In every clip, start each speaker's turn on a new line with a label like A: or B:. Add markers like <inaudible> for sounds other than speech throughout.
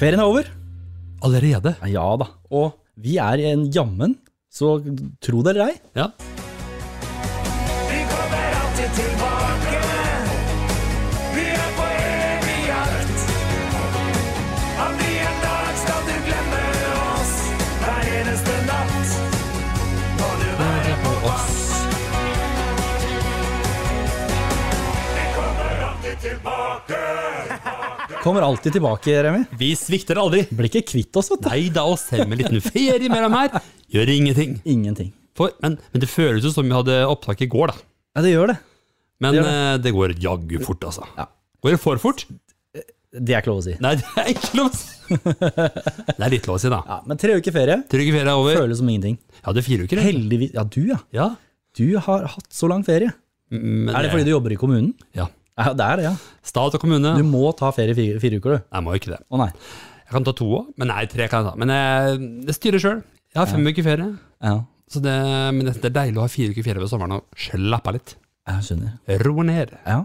A: Ferien er over.
B: Allerede?
A: Ja da. Og vi er i en jammen, så tro det eller ei.
B: Ja.
C: Vi kommer alltid tilbake. Vi er på evig jakt. Aldri en dag skal du glemme oss. Hver eneste natt må du være på oss. Vi kommer alltid tilbake.
A: Kommer alltid tilbake, Remi.
B: Vi svikter aldri.
A: Blir ikke kvitt oss, vet du.
B: Nei da, og selv med en liten ferie mellom her, gjør ingenting.
A: Ingenting.
B: For, men, men det føles jo som vi hadde opptak i går, da.
A: Ja, det gjør det.
B: Men
A: Det gjør
B: det, det går jaggu fort, altså.
A: Ja.
B: Går det for fort?
A: Det er ikke lov å si.
B: Nei, det er ikke lov å si. Det er litt lov å si, da.
A: Ja, men tre uker ferie
B: Trygg ferie er over.
A: føles som ingenting.
B: Jeg hadde fire uker. jeg.
A: Heldigvis Ja, du, ja.
B: Ja.
A: Du har hatt så lang ferie.
B: Men, eh,
A: Er det fordi du jobber i kommunen?
B: Ja.
A: Ja, det er det, ja.
B: Stat og kommune.
A: Du må ta ferie fire, fire uker, du.
B: Jeg må ikke det.
A: Å nei.
B: Jeg kan ta to òg, men nei, tre kan jeg ta. Men jeg, jeg styrer sjøl. Jeg har fem uker ferie.
A: Ja,
B: Så det, men det det er deilig å ha fire uker ferie ved sommeren og slappe av litt.
A: jeg skjønner.
B: Roe ned.
A: Ja.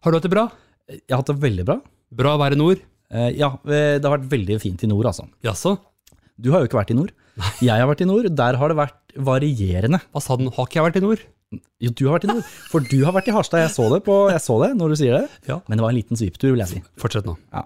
B: Har du hatt det bra?
A: Jeg har hatt det veldig bra.
B: Bra vær i nord?
A: Eh, Ja, eh, det har vært veldig fint i nord, altså.
B: Jaså?
A: Du har jo ikke vært i nord. Jeg har vært i nord. Der har det vært varierende.
B: Hva sa den? Har ikke jeg vært i nord?
A: Jo, du har vært i nord. For du har vært i Harstad. Jeg så det, på, jeg så det når du sier det.
B: Ja.
A: Men det var en liten sviptur, vil jeg si.
B: Fortsett nå.
A: Ja.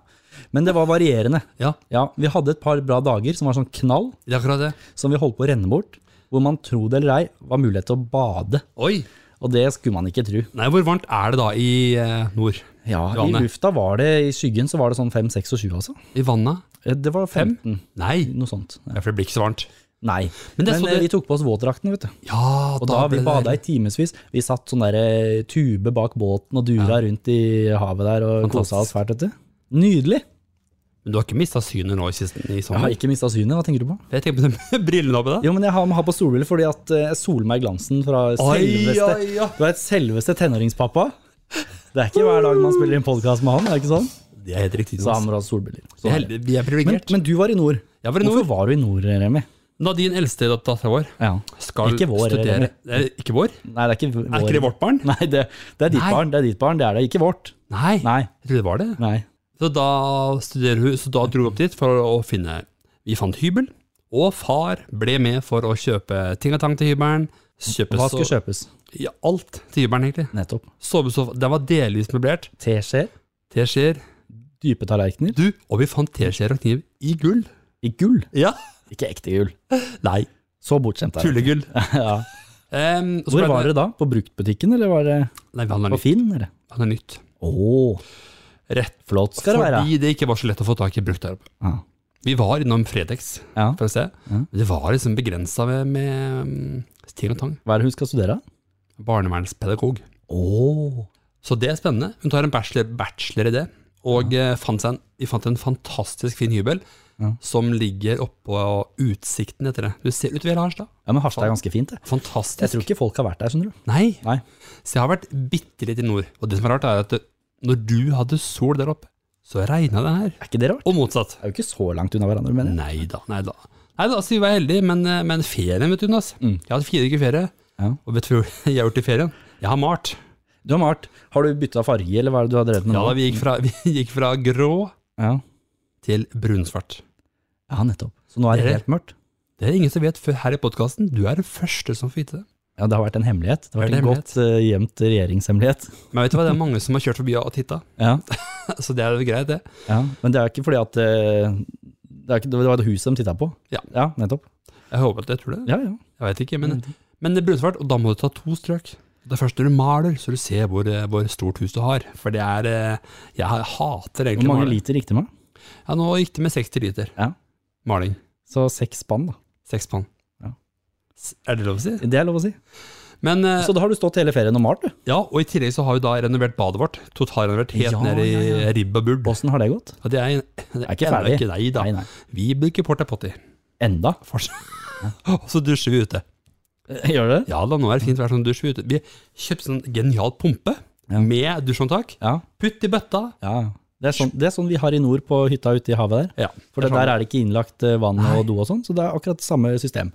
A: Men det var varierende.
B: Ja,
A: Ja, vi hadde et par bra dager som var sånn knall,
B: det er akkurat det.
A: som vi holdt på å renne bort. Hvor man tro det eller ei, var mulighet til å bade.
B: Oi!
A: Og det skulle man ikke tro.
B: Nei, hvor varmt er det da i eh, nord?
A: Ja, i
B: Johanne.
A: lufta var det, i skyggen så var det sånn 5, 6 og 7 altså.
B: I vannet?
A: Eh, Det var 15,
B: Nei,
A: noe sånt. Ja.
B: Ja, for det blir ikke så varmt.
A: Nei,
B: Men
A: men,
B: det så
A: eh,
B: det-
A: vi tok på oss våtdrakten, vet du.
B: Ja,
A: Og da, vi
B: ble det-
A: bada i timevis. Vi satt sånn der eh, tube bak båten og dura rundt i havet der og
B: Fantastisk.
A: kosa oss fælt, vet du. Nydelig.
B: Men du har ikke mista synet nå i, sisten, i
A: Jeg
B: sommer?
A: har ikke mista synet, hva tenker du på?
B: Jeg tenker på det <laughs> med brillene oppi der.
A: Jo, men jeg har, må ha på solbriller fordi at eh, jeg soler meg i glansen fra selveste
B: oi, oi.
A: Du vet, selveste tenåringspappa. Det er ikke hver dag man spiller en podkast med han, er det ikke sånn?
B: Det er helt riktig.
A: Så han
B: Jonas.
A: må ha solbriller. Så er
B: Vi er
A: det.
B: heldige, vi er
A: Men,
B: privilegert.
A: men du var i nord.
B: Jeg var i nord.
A: Hvorfor var du i nord, Remi?
B: Da din eldste dat- datter vår
A: Ja.
B: skal
A: Ikke vår,
B: studere
A: Remi.
B: Det er Ikke vår?
A: Nei, det er ikke vår.
B: Er ikke det vårt barn?
A: Nei, det, det er ditt
B: Nei.
A: barn. Det er ditt barn, det er det. Ikke vårt.
B: Nei.
A: Nei.
B: Jeg trodde det var det.
A: Nei.
B: Så da studerer hun, så da dro vi opp dit for å finne Vi fant hybel, og far ble med for å kjøpe ting og tang til hybelen. Kjøpe
A: Hva
B: så-
A: skulle kjøpes?
B: Ja, alt til hybelen, egentlig.
A: Nettopp.
B: Sovesofa Den var delvis møblert.
A: Teskjeer,
B: Teskjeer.
A: dype tallerkener
B: Du, og vi fant teskjeer og kniv i gull.
A: i gull.
B: Ja.
A: Ikke ekte gull.
B: Nei,
A: Så bortskjemt er jeg.
B: tullegull.
A: Ja.
B: Em, og så
A: Hvor
B: ble
A: var
B: det-
A: dere da? På bruktbutikken, eller var det
B: Nei, vi handla
A: på
B: nytt.
A: Finn? Eller?
B: Vi handlet nytt.
A: Å,
B: Rett
A: flott skal det være.
B: Fordi det ikke var så lett å få tak i brukt der oppe.
A: Ja.
B: Vi var innom Fretex
A: Ja.
B: for å se. Men Det var liksom begrensa med, med mm, ting og tang.
A: Hva er det hun skal studere?
B: Barnevernspedagog.
A: Åh.
B: Så det er spennende. Hun tar en bachelor, bachelor i det. Og eh, fant seg en, vi fant en fantastisk fin hybel som ligger oppå utsikten etter det. Du ser utover hele Harstad.
A: Ja, men Harstad er ganske fint, det. Jeg
B: Fantastisk.
A: tror ikke folk har vært der, skjønner du.
B: Nei.
A: Nei.
B: Så jeg har vært bitte litt i nord. Og det som er rart, er at det- når du hadde sol der oppe, så regna det her.
A: Er ikke det rart?
B: Og motsatt.
A: Det er jo ikke så langt unna hverandre, mener jeg.
B: Nei da, nei da. Nei da, så altså, vi var heldige, men, eh, men ferien, vet du, Jonas. Jeg hadde fire uker ferie,
A: Mm. Ja.
B: og vet du hva <laughs> jeg har gjort i ferien? Jeg har malt.
A: Du har malt. Har du bytta farge, eller hva er det du har drevet med
B: Ja,
A: nå?
B: da, vi, gikk fra, <laughs> vi gikk fra grå
A: Ja.
B: til brunsvart.
A: ja, nettopp. Så nå er det
B: Dere?
A: helt mørkt.
B: Det er ingen som vet før her i podkasten. Du er den første som får vite det.
A: Ja, det har vært en hemmelighet. Det har
B: Det
A: vært
B: er
A: en godt eh, gjemt regjeringshemmelighet.
B: Men vet du hva, det er mange som har kjørt forbi og titta,
A: Ja.
B: <laughs> så det er jo greit, det.
A: ja. Men det er ikke fordi at eh, det, er ikke, det var et hus de titta på.
B: Ja.
A: ja, nettopp.
B: Jeg håper at jeg tror det.
A: Ja, Mm. ja.
B: Jeg vet ikke, men, men det er brunsvart, og da må du ta to strøk. Det er først når du maler, så du ser hvor, eh, hvor stort hus du har. For det er eh, Jeg hater
A: Hvor
B: egentlig
A: mange
B: maling.
A: liter gikk det med?
B: Ja, nå gikk det med 60 liter
A: Ja.
B: maling.
A: Så seks spann, da.
B: Seks pann.
A: Ja.
B: S- Er det lov å si?
A: Det er lov å si.
B: Men, eh,
A: Så da har du stått hele ferien og malt, du.
B: ja, og i tillegg så har vi da renovert badet vårt. Totalrenovert helt
A: Ja,
B: ned i
A: ja, ja.
B: ribb og bulb.
A: Åssen har det gått?
B: Ja, det er, det
A: Er ikke
B: ennå
A: ferdig.
B: Ikke, nei da.
A: Nei, nei.
B: Vi bruker porta potty.
A: Enda?
B: For- <laughs> Og så dusjer vi ute.
A: Gjør det?
B: Ja da, nå er det fint vær, sånn dusjer vi ute. Vi kjøpte sånn genial pumpe med dusjhåndtak.
A: Ja.
B: Putt i bøtta.
A: ja. Det, er sånn, det er sånn vi har i nord på hytta ute i havet der.
B: Ja,
A: For det der er det sånn, ikke innlagt eh, vann og do og sånn, så det er akkurat samme system.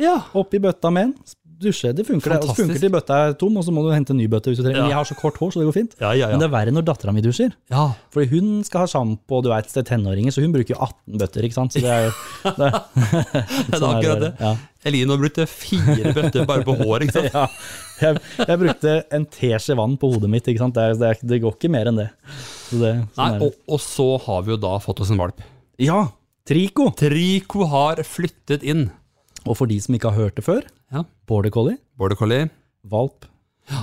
B: Ja,
A: Oppi bøtta med en, dusje. Det funker, det. Og så funker
B: Fantastisk.
A: til bøtta er tom, og så må du hente en ny bøtte hvis du trenger. Men
B: Ja.
A: jeg har så kort hår, så det går fint.
B: sånn. Ja, ja, ja.
A: Men det er verre når dattera mi dusjer. <laughs>
B: Ja,
A: Fordi hun skal ha sjampo, og du vet, det er tenåringer, så hun bruker jo 18 bøtter, ikke sant. Så det
B: <laughs>
A: er jo det,
B: det er
A: sånn
B: akkurat det.
A: bare. Ja.
B: Eline brukte fire bøtter bare på
A: <laughs>
B: håret, ikke sant?
A: Ja, jeg, jeg brukte en teskje vann på hodet mitt, ikke sant. Det, er- det, er- det går ikke mer enn det. Så det
B: Nei,
A: sånn er det.
B: og, og så har vi jo da fått oss en valp.
A: Ja, Trico!
B: Trico har flyttet inn.
A: Og for de som ikke har hørt det før,
B: Ja.
A: border collie,
B: Border collie,
A: valp,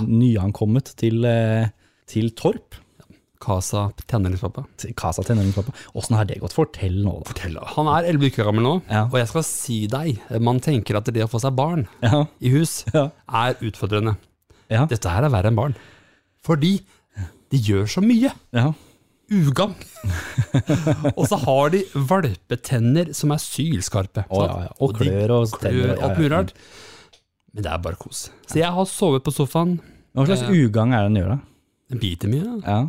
A: nyankommet til, eh, til Torp.
B: Casa tenåringspappa.
A: til Casa tenåringspappa. Åssen har det gått? Fortell nå, da.
B: Fortell, Han er 11 uker gammel nå,
A: Ja.
B: og jeg skal si deg, man tenker at det å få seg barn
A: Ja,
B: i hus
A: Ja.
B: er utfordrende.
A: ja,
B: Dette her er verre enn barn. Fordi de gjør så mye.
A: ja. <laughs>
B: Ugagn. og så har de valpetenner som er sylskarpe.
A: Å,
B: sant?
A: ja, ja. Og
B: de
A: klør og tenner
B: klør
A: og- ja,
B: alt mulig
A: ja.
B: rart. Men det er bare kos. Så jeg har sovet på sofaen.
A: Hva slags ugagn er det den gjør, da?
B: Den biter mye,
A: Ja.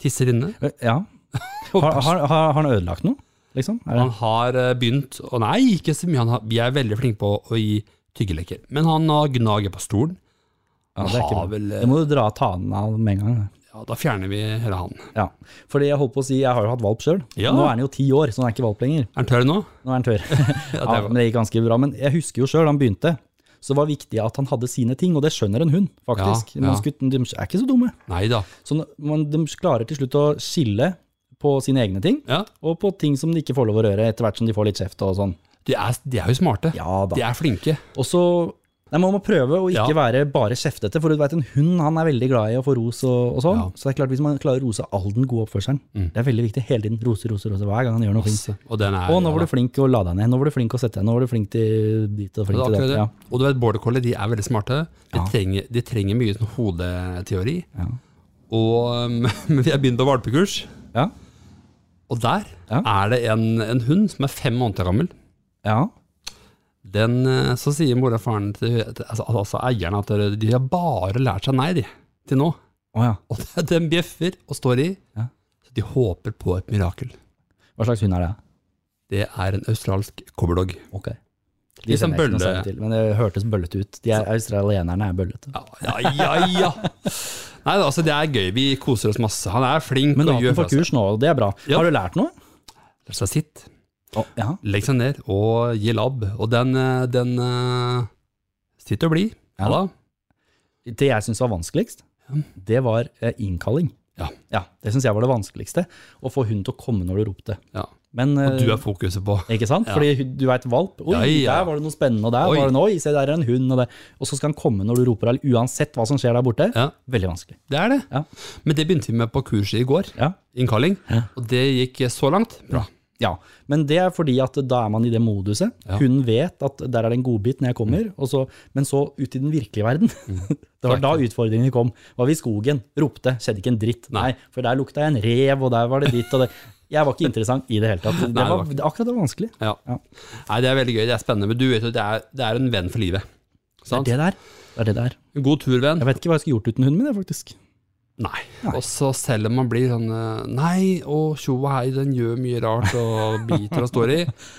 B: tisser inne.
A: Eh, ja. <laughs> Har, har, har, har han ødelagt noe, liksom? Er det?
B: Han har eh, begynt, og nei, ikke så mye. Han har, vi er veldig flinke på å gi tyggeleker. Men han har gnaget på stolen.
A: Ja, det
B: Han
A: er ikke
B: har
A: bra.
B: vel eh,
A: Det må du dra ta den av med en gang. da.
B: Ja, da fjerner vi hele han.
A: Ja. Fordi jeg holdt på å si, jeg har jo hatt valp sjøl.
B: Ja.
A: Nå er han jo ti år, så han er ikke valp lenger.
B: Er han tørr nå?
A: Nå er han tørr. <laughs> ja,
B: var-
A: men det gikk ganske bra. Men jeg husker jo sjøl, han begynte. Så det var viktig at han hadde sine ting, og det skjønner en hund, faktisk.
B: Ja,
A: Man
B: ja.
A: skulle, de er ikke så dumme.
B: Nei da.
A: Så når- man, de klarer til slutt å skille på sine egne ting,
B: Ja.
A: og på ting som de ikke får lov å røre, etter hvert som de får litt kjeft og sånn.
B: De er, de er jo smarte.
A: Ja
B: De
A: da.
B: er flinke.
A: Og så Nei, Man må prøve å ikke
B: Ja.
A: være bare kjeftete, for du vet, en hund han er veldig glad i å få ros. og, og sånn.
B: Ja. Mm.
A: Så det er klart Hvis man klarer å rose all den gode oppførselen Det er veldig viktig hele tiden. Rose, rose, rose hver gang han gjør noe fint.
B: Og den er
A: Å, nå var
B: ja,
A: du flink å la deg ned. Nå var du flink å sette deg ned. Nå var du flink til dit og
B: det er
A: flink til
B: akkurat
A: det.
B: det.
A: Ja.
B: Og du vet, border collie de er veldig smarte. De, trenger, de trenger mye sånn hodeteori. Og, <laughs> um, men vi har begynt på valpekurs,
A: Ja.
B: og der
A: Ja.
B: er det en, en hund som er fem måneder gammel.
A: Ja.
B: Den, eh, så sier mora og faren til til- altså, altså eieren at dere- de har bare lært seg nei de, til nå.
A: Å ja.
B: Og den bjeffer og står i.
A: Ja.
B: Så de håper på et mirakel.
A: Hva slags hund er det?
B: Det er en australsk cobberdog.
A: Ok.
B: Litt sånn
A: kjenner jeg ikke noe
B: bølle.
A: særlig til, men det hørtes bøllete ut. De er, australienerne er bøllete.
B: Ja, ja, ja, ja. Nei, altså det er gøy. Vi koser oss masse. Han er flink
A: Men du
B: og
A: har
B: gjør
A: den på
B: fra seg.
A: kurs nå, og det er bra.
B: Ja.
A: Har du lært noe?
B: Lær seg sitt,
A: Å, ja.
B: legg seg ned og gi labb. Og den, eh, den eh, sitter og blir. Ja da.
A: Det jeg syns var vanskeligst, det var eh, innkalling.
B: Ja.
A: Det syns jeg var det vanskeligste. Å få hunden til å komme når du ropte.
B: Ja.
A: Men, eh,
B: Du er fokuset på.
A: Ikke sant?
B: Ja.
A: Fordi du veit valp. Oi,
B: Ja,
A: der
B: ja.
A: var det noe spennende, og der
B: Oi.
A: var det noe, oi, se der er en hund. Og, der. og så skal han komme når du roper, eller uansett hva som skjer der borte.
B: Ja.
A: Veldig vanskelig.
B: Det er det.
A: Ja.
B: Men det begynte vi med på kurset i går.
A: Ja.
B: Innkalling.
A: Ja.
B: Og det gikk eh, så langt. Bra.
A: ja. Men det er fordi at da er man i det moduset.
B: Ja.
A: Hunden vet at der er det en godbit når jeg kommer, og så, men så ut i den virkelige verden. <laughs> det var da utfordringene kom. Var vi i skogen, ropte, skjedde ikke en dritt. Nei,
B: Nei.
A: for der lukta jeg en rev, og der var det ditt og det. Jeg <laughs> var ikke interessant i det hele tatt. Det
B: det
A: var,
B: var ikke
A: det- akkurat det var vanskelig.
B: Ja.
A: Ja.
B: Nei, det er veldig gøy. Det er spennende. Men du vet jo, det er, det er en venn for livet.
A: Det er
B: Sant?
A: det der. Det er det der.
B: En god turvenn.
A: Jeg vet ikke hva jeg skulle gjort uten hunden min, jeg, faktisk.
B: Nei.
A: Nei.
B: Og så selv om man blir sånn eh, Nei, og tjo og hei, den gjør mye rart og biter og står i.
A: <laughs>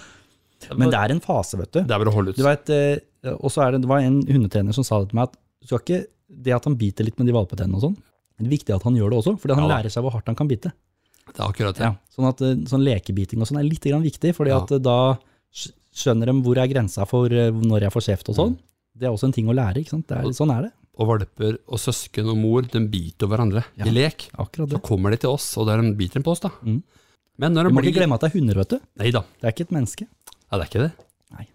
A: Men det er en fase, vet du.
B: Det er bare å holde ut.
A: Du vet, eh, og så er det, det var en hundetrener som sa det til meg, at du skal ikke, det at han biter litt med de valpetennene og sånn, det er viktig at han gjør det også, fordi han
B: Ja da.
A: lærer seg hvor hardt han kan bite.
B: Det er akkurat det.
A: Sånn at eh, sånn lekebiting og sånn er litt grann viktig, fordi
B: Ja.
A: at eh, da skj- skjønner de hvor er grensa for eh, når jeg får kjeft og sånn.
B: Mm.
A: Det er også en ting å lære, ikke sant? Det er, sånn er det.
B: Og valper og søsken og mor, de biter jo hverandre
A: Ja.
B: i lek.
A: Akkurat
B: Så
A: det.
B: kommer de til oss, og der de biter de på oss, da.
A: Mm.
B: Men når
A: Du
B: de
A: må
B: blir
A: ikke glemme at det er hunder, vet du.
B: Nei da,
A: Det er ikke et menneske.
B: ja, det er ikke det.
A: Nei.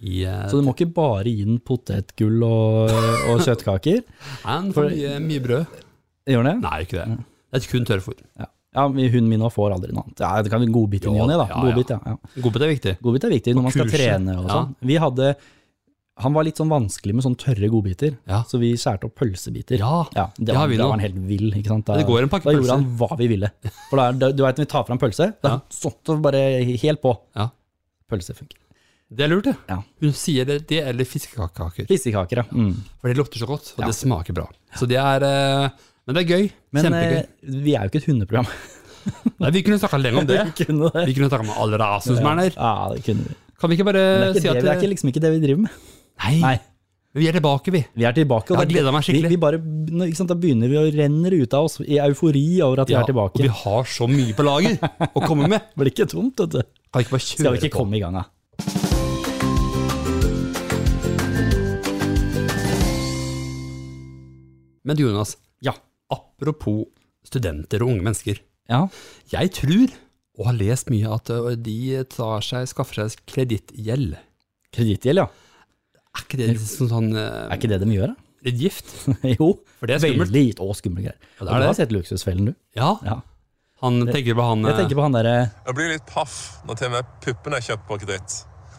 B: I, eh,
A: Så du må ikke bare gi den potetgull og, og kjøttkaker.
B: en
A: for- Mm.
B: for mye, mye brød.
A: Gjør det?
B: Nei, ikke det. Det er kun tørrfôr.
A: Ja, ja men hunden min nå får aldri noe annet. Ja, det kan være en godbit i
B: Jo,
A: ny og ne, da.
B: ja, ja.
A: Godbit, ja. ja.
B: Godbit er viktig.
A: Godbit er viktig når man skal
B: kurset,
A: trene og
B: ja.
A: sånn. Vi hadde Han var litt sånn vanskelig med sånne tørre godbiter,
B: Ja.
A: så vi skjærte opp pølsebiter.
B: Ja,
A: det,
B: det
A: var,
B: har vi
A: da
B: nå.
A: var han helt vill. ikke sant? Da,
B: Det går en pakke
A: da gjorde
B: pølser.
A: han hva vi ville. For da, er- da, Du veit når vi tar fram pølse, da
B: Ja.
A: satt det bare helt på.
B: Ja.
A: Pølse funker.
B: Det er lurt, det.
A: Ja.
B: Hun sier det, det eller fiskekaker.
A: Fiskekaker, ja. Mm.
B: For det lukter så godt, og
A: Ja.
B: det smaker bra. Så det er eh, Men det er gøy.
A: Men
B: Kjempegøy.
A: eh, vi er jo ikke et hundeprogram.
B: Nei, vi kunne snakka lenge om det.
A: <laughs> Vi kunne det.
B: Vi kunne snakka om alle rasene som er der.
A: Ja, det kunne vi.
B: Kan vi ikke bare
A: Det er, ikke
B: Eh, si
A: det,
B: at <laughs>
A: vi- det er ikke liksom ikke det vi driver med.
B: Nei.
A: Nei.
B: Men Vi er tilbake, vi.
A: Vi er tilbake.
B: Jeg har
A: det er-
B: gledet meg skikkelig.
A: Vi, vi bare, nå, ikke sant, da begynner vi å renne ut av oss i eufori over at vi
B: Ja,
A: er tilbake.
B: Og vi har så mye på lager å komme med.
A: Det blir ikke tomt, vet du.
B: Kan vi ikke bare kjøre
A: Skal vi ikke
B: på?
A: komme i gang, da?
B: Men du, Jonas,
A: Ja.
B: apropos studenter og unge mennesker.
A: ja.
B: Jeg tror, og har lest mye, at ø, de tar seg, skaffer seg kredittgjeld.
A: Kredittgjeld, ja.
B: Er ikke det litt sånn, sånn ø,
A: Er ikke det de gjør, da? <laughs>
B: litt gift?
A: jo.
B: For det er skummelt.
A: Veldig gitt og skumle greier.
B: Ja, det
A: Og
B: er
A: du har
B: det.
A: sett Luksusfellen, du.
B: Ja,
A: Ja.
B: han tenker på han eh, ø,
A: Jeg tenker på han derre
D: Jeg blir litt paff når til og med puppene er kjøpt på kreditt.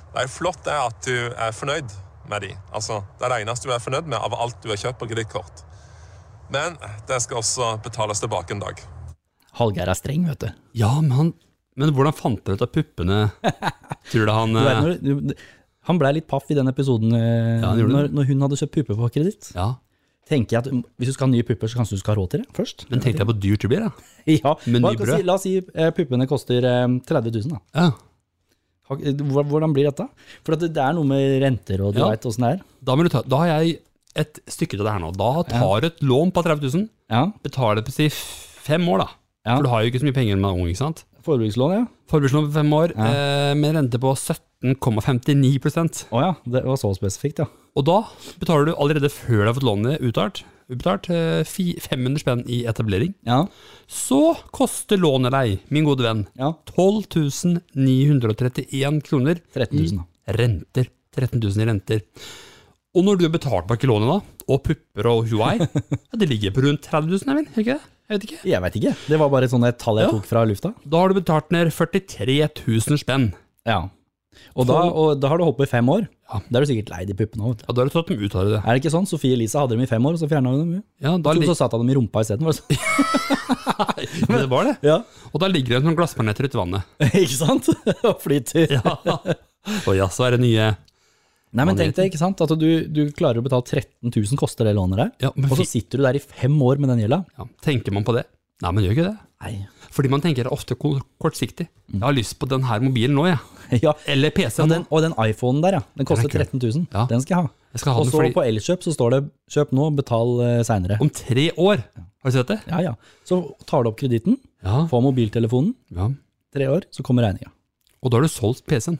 D: Det er flott det er at du er fornøyd med de. Altså, det er det eneste du er fornøyd med av alt du har kjøpt på kredittkort. Men det skal også betales tilbake en dag.
A: Hallgeir er streng, vet du.
B: Ja, men, han, men hvordan fant dere ut av
A: <laughs>
B: puppene? Tror du han eh,
A: du vet,
B: ø,
A: når, du- han blei litt paff i den episoden eh,
B: Ja, han gjorde
A: når, når hun hadde kjøpt pupper på kreditt.
B: Ja,
A: Tenker jeg at mm, Hvis du skal ha nye pupper, så kanskje du skal ha råd til det først? <laughs>
B: men tenkte jeg på dyrt det blir, da?
A: Ja,
B: Med
A: hva-
B: nybrød?
A: Si, la oss si eh, puppene koster eh, 30 000, da.
B: Ja.
A: Ha- hvor- Hvordan blir dette? For at det det er noe med renter og du
B: Ja.
A: vet åssen det er.
B: Da, må du ta, da har jeg et stykke til det her nå. Da tar du et lån på 30 000,
A: Ja,
B: betaler det på si fem år, da.
A: Ja.
B: For du har jo ikke så mye penger når man er ung, ikke sant?
A: Forbrukslån, ja.
B: Forbrukslån på fem år eh, med rente på 17,59
A: Å ja, det var så spesifikt, ja.
B: Og da betaler du allerede før du har fått lånet uttalt, utbetalt eh, fi- 500 spenn i etablering.
A: Ja,
B: Så koster lånet deg, min gode venn,
A: ja.
B: 12 931 kroner
A: 13 000, da.
B: i renter. 13 000 i renter. Og når du har betalt bak lånet, da, og pupper og huai,
A: <laughs>
B: ja, det ligger på rundt 30 000, er vel? Er det ikke det? Jeg vet ikke.
A: Jeg veit ikke. Det var bare et sånt et tall jeg
B: Ja.
A: tok fra lufta.
B: Da har du betalt ned 43 000 spenn.
A: Ja. Og da, og da har du holdt på i fem år.
B: Ja.
A: Da er du sikkert lei de puppene òg.
B: Ja, da har du tatt dem ut av det.
A: Er det ikke sånn? Sofie Elise hadde dem i fem år, og så fjerna hun dem. jo.
B: Ja, da
A: Og
B: ligger
A: så satte han dem i rumpa isteden. var det <laughs> sånn?
B: Men det var det.
A: Ja. <laughs>
B: Og da ligger det en sånn glassmaneter uti vannet.
A: ikke sant? <laughs> Og flyter.
B: <laughs> Og ja, så er det nye
A: Nei, men tenk deg, ikke sant, at du, du klarer å betale 13 000 koster det lånet der,
B: Ja, men
A: og så
B: fi-
A: sitter du der i fem år med den gjelda.
B: ja, Tenker man på det? Nei, man gjør ikke det.
A: Nei.
B: Fordi man tenker ofte kor- kortsiktig. Jeg har lyst på den her mobilen nå, jeg.
A: <laughs> Mm. Ja,
B: Eller
A: og
B: PC-en.
A: den, og den iPhonen der, ja. Den koster
B: Den er
A: 13 000.
B: Ja.
A: Den skal jeg ha.
B: Jeg skal ha
A: Og
B: den
A: så
B: fordi
A: på Elkjøp så står det 'kjøp nå, betal eh, seinere'.
B: om tre år Har du sett det?
A: Ja, ja. Så tar du opp kreditten,
B: Ja.
A: får mobiltelefonen,
B: ja.
A: tre år, så kommer regninga.
B: Og da har du solgt PC-en.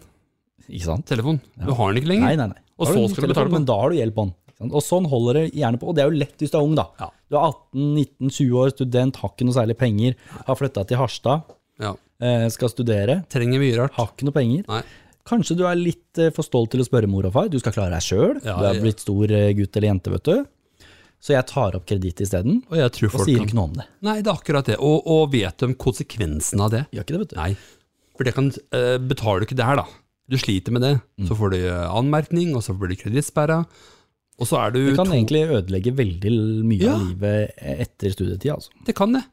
A: Ikke sant?
B: Telefonen. Du har den ikke lenger.
A: Nei, nei, nei.
B: Og
A: Da har du
B: så skal du
A: mobiltelefon,
B: betale på den.
A: Men da har du gjeld på den. ikke sant? Og sånn holder det gjerne på. Og det er jo lett hvis du er ung, da.
B: Ja.
A: Du er 18-19-20 år, student, har ikke noe særlig penger, har flytta til Harstad,
B: Ja.
A: eh, skal studere,
B: Trenger mye rart.
A: har ikke noe penger.
B: Nei.
A: Kanskje du er litt eh, for stolt til å spørre mor og far. Du skal klare deg sjøl.
B: Ja,
A: du er
B: ja.
A: blitt stor eh, gutt eller jente, vet du. Så jeg tar opp kreditt isteden,
B: Og jeg tror
A: og
B: folk
A: sier
B: kan
A: ikke noe om det.
B: Nei, det er akkurat det. Og, og vet de konsekvensen av det?
A: Gjør ikke det, vet du.
B: Nei. For det kan eh, Betaler du ikke det her, da. Du sliter med det. Så får du eh, anmerkning, og så blir du kredittsperra. Og så er du
A: Det kan
B: to
A: egentlig ødelegge veldig mye
B: Ja.
A: av livet etter studietida, altså.
B: Det kan det.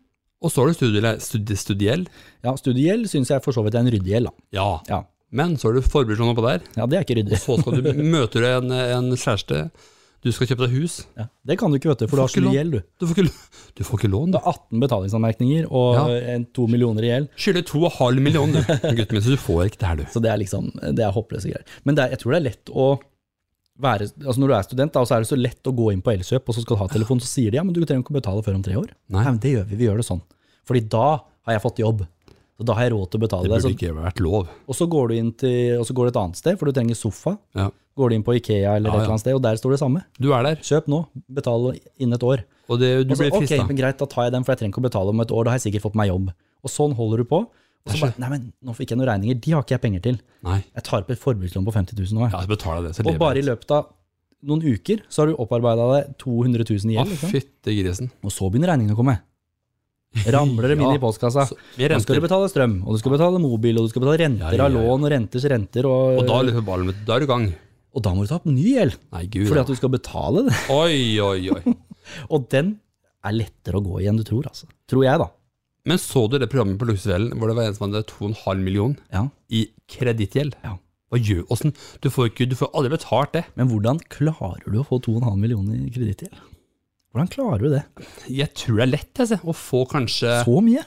B: Og så har du studiele- studi- studiell.
A: Ja, studiegjeld syns jeg for så vidt er en ryddig gjeld, da.
B: Ja.
A: Ja.
B: Men så har du forbrukslån oppå der.
A: ja, det er ikke
B: <laughs>
A: ryddig.
B: Så skal du møte en, en kjæreste. Du skal kjøpe deg hus.
A: Ja. Det kan du ikke, vet du, for du har
B: Får
A: så
B: ikke lån.
A: mye gjeld, du.
B: Du får ikke, l- du får ikke lån,
A: Du
B: da.
A: har 18 betalingsanmerkninger og
B: Ja.
A: en, to millioner i gjeld,
B: Skylder to og en halv million, <laughs> du. Gutten min, så du får ikke det her, du.
A: så det er liksom det er håpløse greier. Men det er, jeg tror det er lett å være, altså Når du er student, da, så er det så lett å gå inn på Elkjøp, og så skal du ha telefon, så sier de ja, men du trenger ikke å betale før om tre år.
B: Nei.
A: men det gjør vi, vi gjør det sånn. Fordi da har jeg fått jobb. Så da har jeg råd til å
B: Det
A: betale det. sånn.
B: burde ikke vært lov.
A: Så, og så går du inn til, og så går du et annet sted, for du trenger sofa.
B: Ja.
A: Går du inn på Ikea eller
B: Ja,
A: et
B: ja.
A: eller annet sted, og der står det samme.
B: Du er der,
A: Kjøp nå, betal innen et år.
B: og det, du
A: Og så,
B: blir
A: Altså, ok,
B: frista.
A: men greit, da tar jeg den, for jeg trenger ikke å betale om et år, da har jeg sikkert fått meg jobb. Og sånn holder du på. Og så bare, nei, men nå fikk jeg noen regninger, de har ikke jeg penger til.
B: Nei.
A: Jeg tar opp et forbrukslån på 50 000 nå. jeg.
B: Ja, så betaler jeg det, så
A: og
B: lever
A: bare
B: jeg.
A: i løpet av noen uker så har du opparbeida deg 200 000 i
B: Å,
A: gjeld. Liksom.
B: fytte Ah, grisen.
A: Og så begynner regningene å komme. Ramler
B: <laughs>
A: dem
B: Ja,
A: inn i postkassa.
B: så- med
A: Nå skal
B: renter.
A: du betale strøm, og du skal betale mobil, og du skal betale renter
B: Ja, ja,
A: av
B: ja.
A: lån og renters renter, og,
B: Og da
A: og, da,
B: løper ballen ut. Da er du i gang.
A: må du ta opp ny gjeld,
B: Nei, gud.
A: fordi at du skal betale det. <laughs>
B: Oi, oi, oi.
A: Og den er lettere å gå i enn du tror, altså. Tror jeg, da.
B: Men så du det programmet på Luksusfellen hvor det var en som hadde 2,5 million
A: Ja.
B: i kredittgjeld?
A: Ja.
B: Hva gjør åssen? Du får ikke, du får aldri betalt det.
A: Men hvordan klarer du å få 2,5 millioner i kredittgjeld? Hvordan klarer du det?
B: Jeg tror det er lett altså, å få kanskje Eh,
A: Så mye?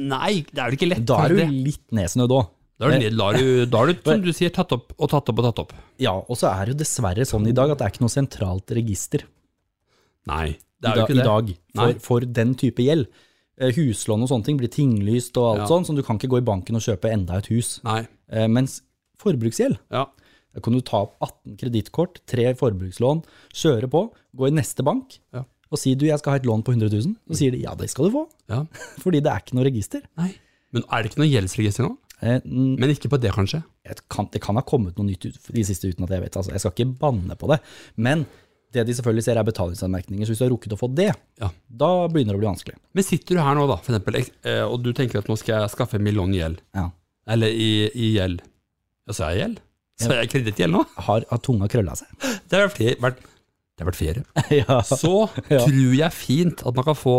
B: Nei, det er vel ikke lett.
A: Da er du
B: kanskje det.
A: litt nedsnødd òg.
B: Da har du, litt- lar du, da har du, som du sier, tatt opp og tatt opp og tatt opp.
A: Ja, og så er det jo dessverre sånn i dag at det er ikke noe sentralt register
B: Nei,
A: i,
B: det er jo
A: da,
B: ikke
A: i
B: det.
A: dag
B: Nei.
A: for, for den type gjeld. Eh, Huslån og sånne ting blir tinglyst og alt
B: Ja.
A: sånn, så du kan ikke gå i banken og kjøpe enda et hus.
B: Nei.
A: Eh, Mens forbruksgjeld,
B: Ja.
A: da kan du ta opp 18 kredittkort, tre forbrukslån, kjøre på, gå i neste bank
B: Ja.
A: og si du, jeg skal ha et lån på 100 000. Så sier de ja, det skal du få, <laughs>
B: ja.
A: fordi det er ikke noe register.
B: Nei. Men er det ikke noe gjeldsregister nå?
A: Eh, n-
B: Men ikke på det, kanskje?
A: jeg kan, det kan ha kommet noe nytt ut de siste uten at jeg vet. Altså, jeg skal ikke banne på det. Men det de selvfølgelig ser er betalingsanmerkninger, så hvis du har rukket å få det,
B: Ja.
A: da begynner det å bli vanskelig.
B: Men sitter du her nå, da, for eksempel, ek- eh, og du tenker at nå skal jeg skaffe en million i gjeld.
A: Ja.
B: Eller i, i gjeld. Ja, sa jeg gjeld? Sa jeg kredittgjeld nå? <laughs>
A: Har, har tunga krølla seg? <laughs>
B: Det har vært flere. Vært, det har vært flere.
A: ja.
B: Så
A: Ja.
B: tror jeg fint at man kan få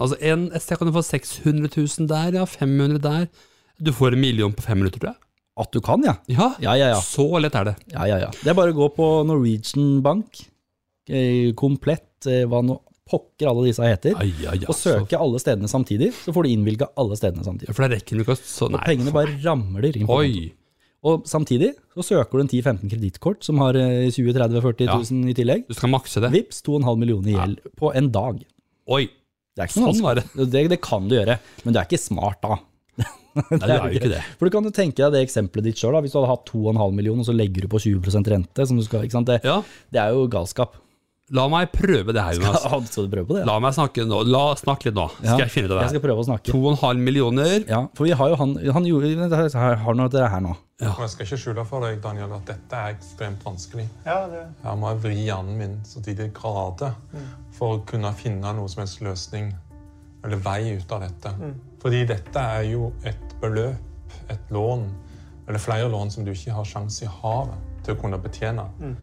B: Altså en, Et sted kan du få 600 000 der, ja, 500 der. Du får en million på fem minutter, tror jeg.
A: At du kan, ja.
B: Ja,
A: Ja, ja, ja.
B: Så lett er det.
A: ja, ja, ja. Det er bare å gå på Norwegian Bank, eh, komplett, eh, hva nå pokker alle disse heter, <laughs>
B: Ai, ai, ai,
A: og søke alle stedene samtidig, så får du innvilga alle stedene
B: Så,
A: samtidig.
B: for da rekker du ikke å så,
A: Og
B: Nei.
A: pengene bare ramler inn. på kontoen.
B: Oi.
A: Og samtidig så søker du en 10-15 kredittkort som har eh, 20 30 40
B: Ja.
A: 000 i tillegg.
B: Du skal makse det.
A: Vips, 2,5 millioner i gjeld på en dag.
B: Oi.
A: Det er ikke
B: Sånn
A: sånn
B: var det.
A: det, det kan du gjøre, men du er ikke smart da. <laughs>
B: Nei, du er jo ikke det.
A: For du kan jo tenke deg det eksempelet ditt sjøl. Hvis du hadde hatt 2,5 millioner, og så legger du på 20 rente, som du skal, ikke sant? Det,
B: Ja,
A: det er jo
B: <laughs>
A: galskap.
B: la meg prøve det her, Jonas.
A: Ja, skal du prøve på det?
B: La meg snakke nå. La snakke litt nå.
A: Ja.
B: Skal jeg finne ut av det
A: Jeg
B: her.
A: skal prøve å snakke.
B: To og en halv millioner.
A: Ja, for vi har jo han, han gjorde, har, har noe av det her nå.
E: Og jeg skal ikke skjule for deg, Daniel, at dette er ekstremt vanskelig.
F: Ja, det, Mm.
E: Her må jeg vri hjernen min så til de grader for å kunne finne noe som helst løsning eller vei ut av dette.
F: Mm.
E: Fordi dette er jo et beløp, et lån, eller flere lån som du ikke har sjanse i havet til å kunne betjene.
F: Mm.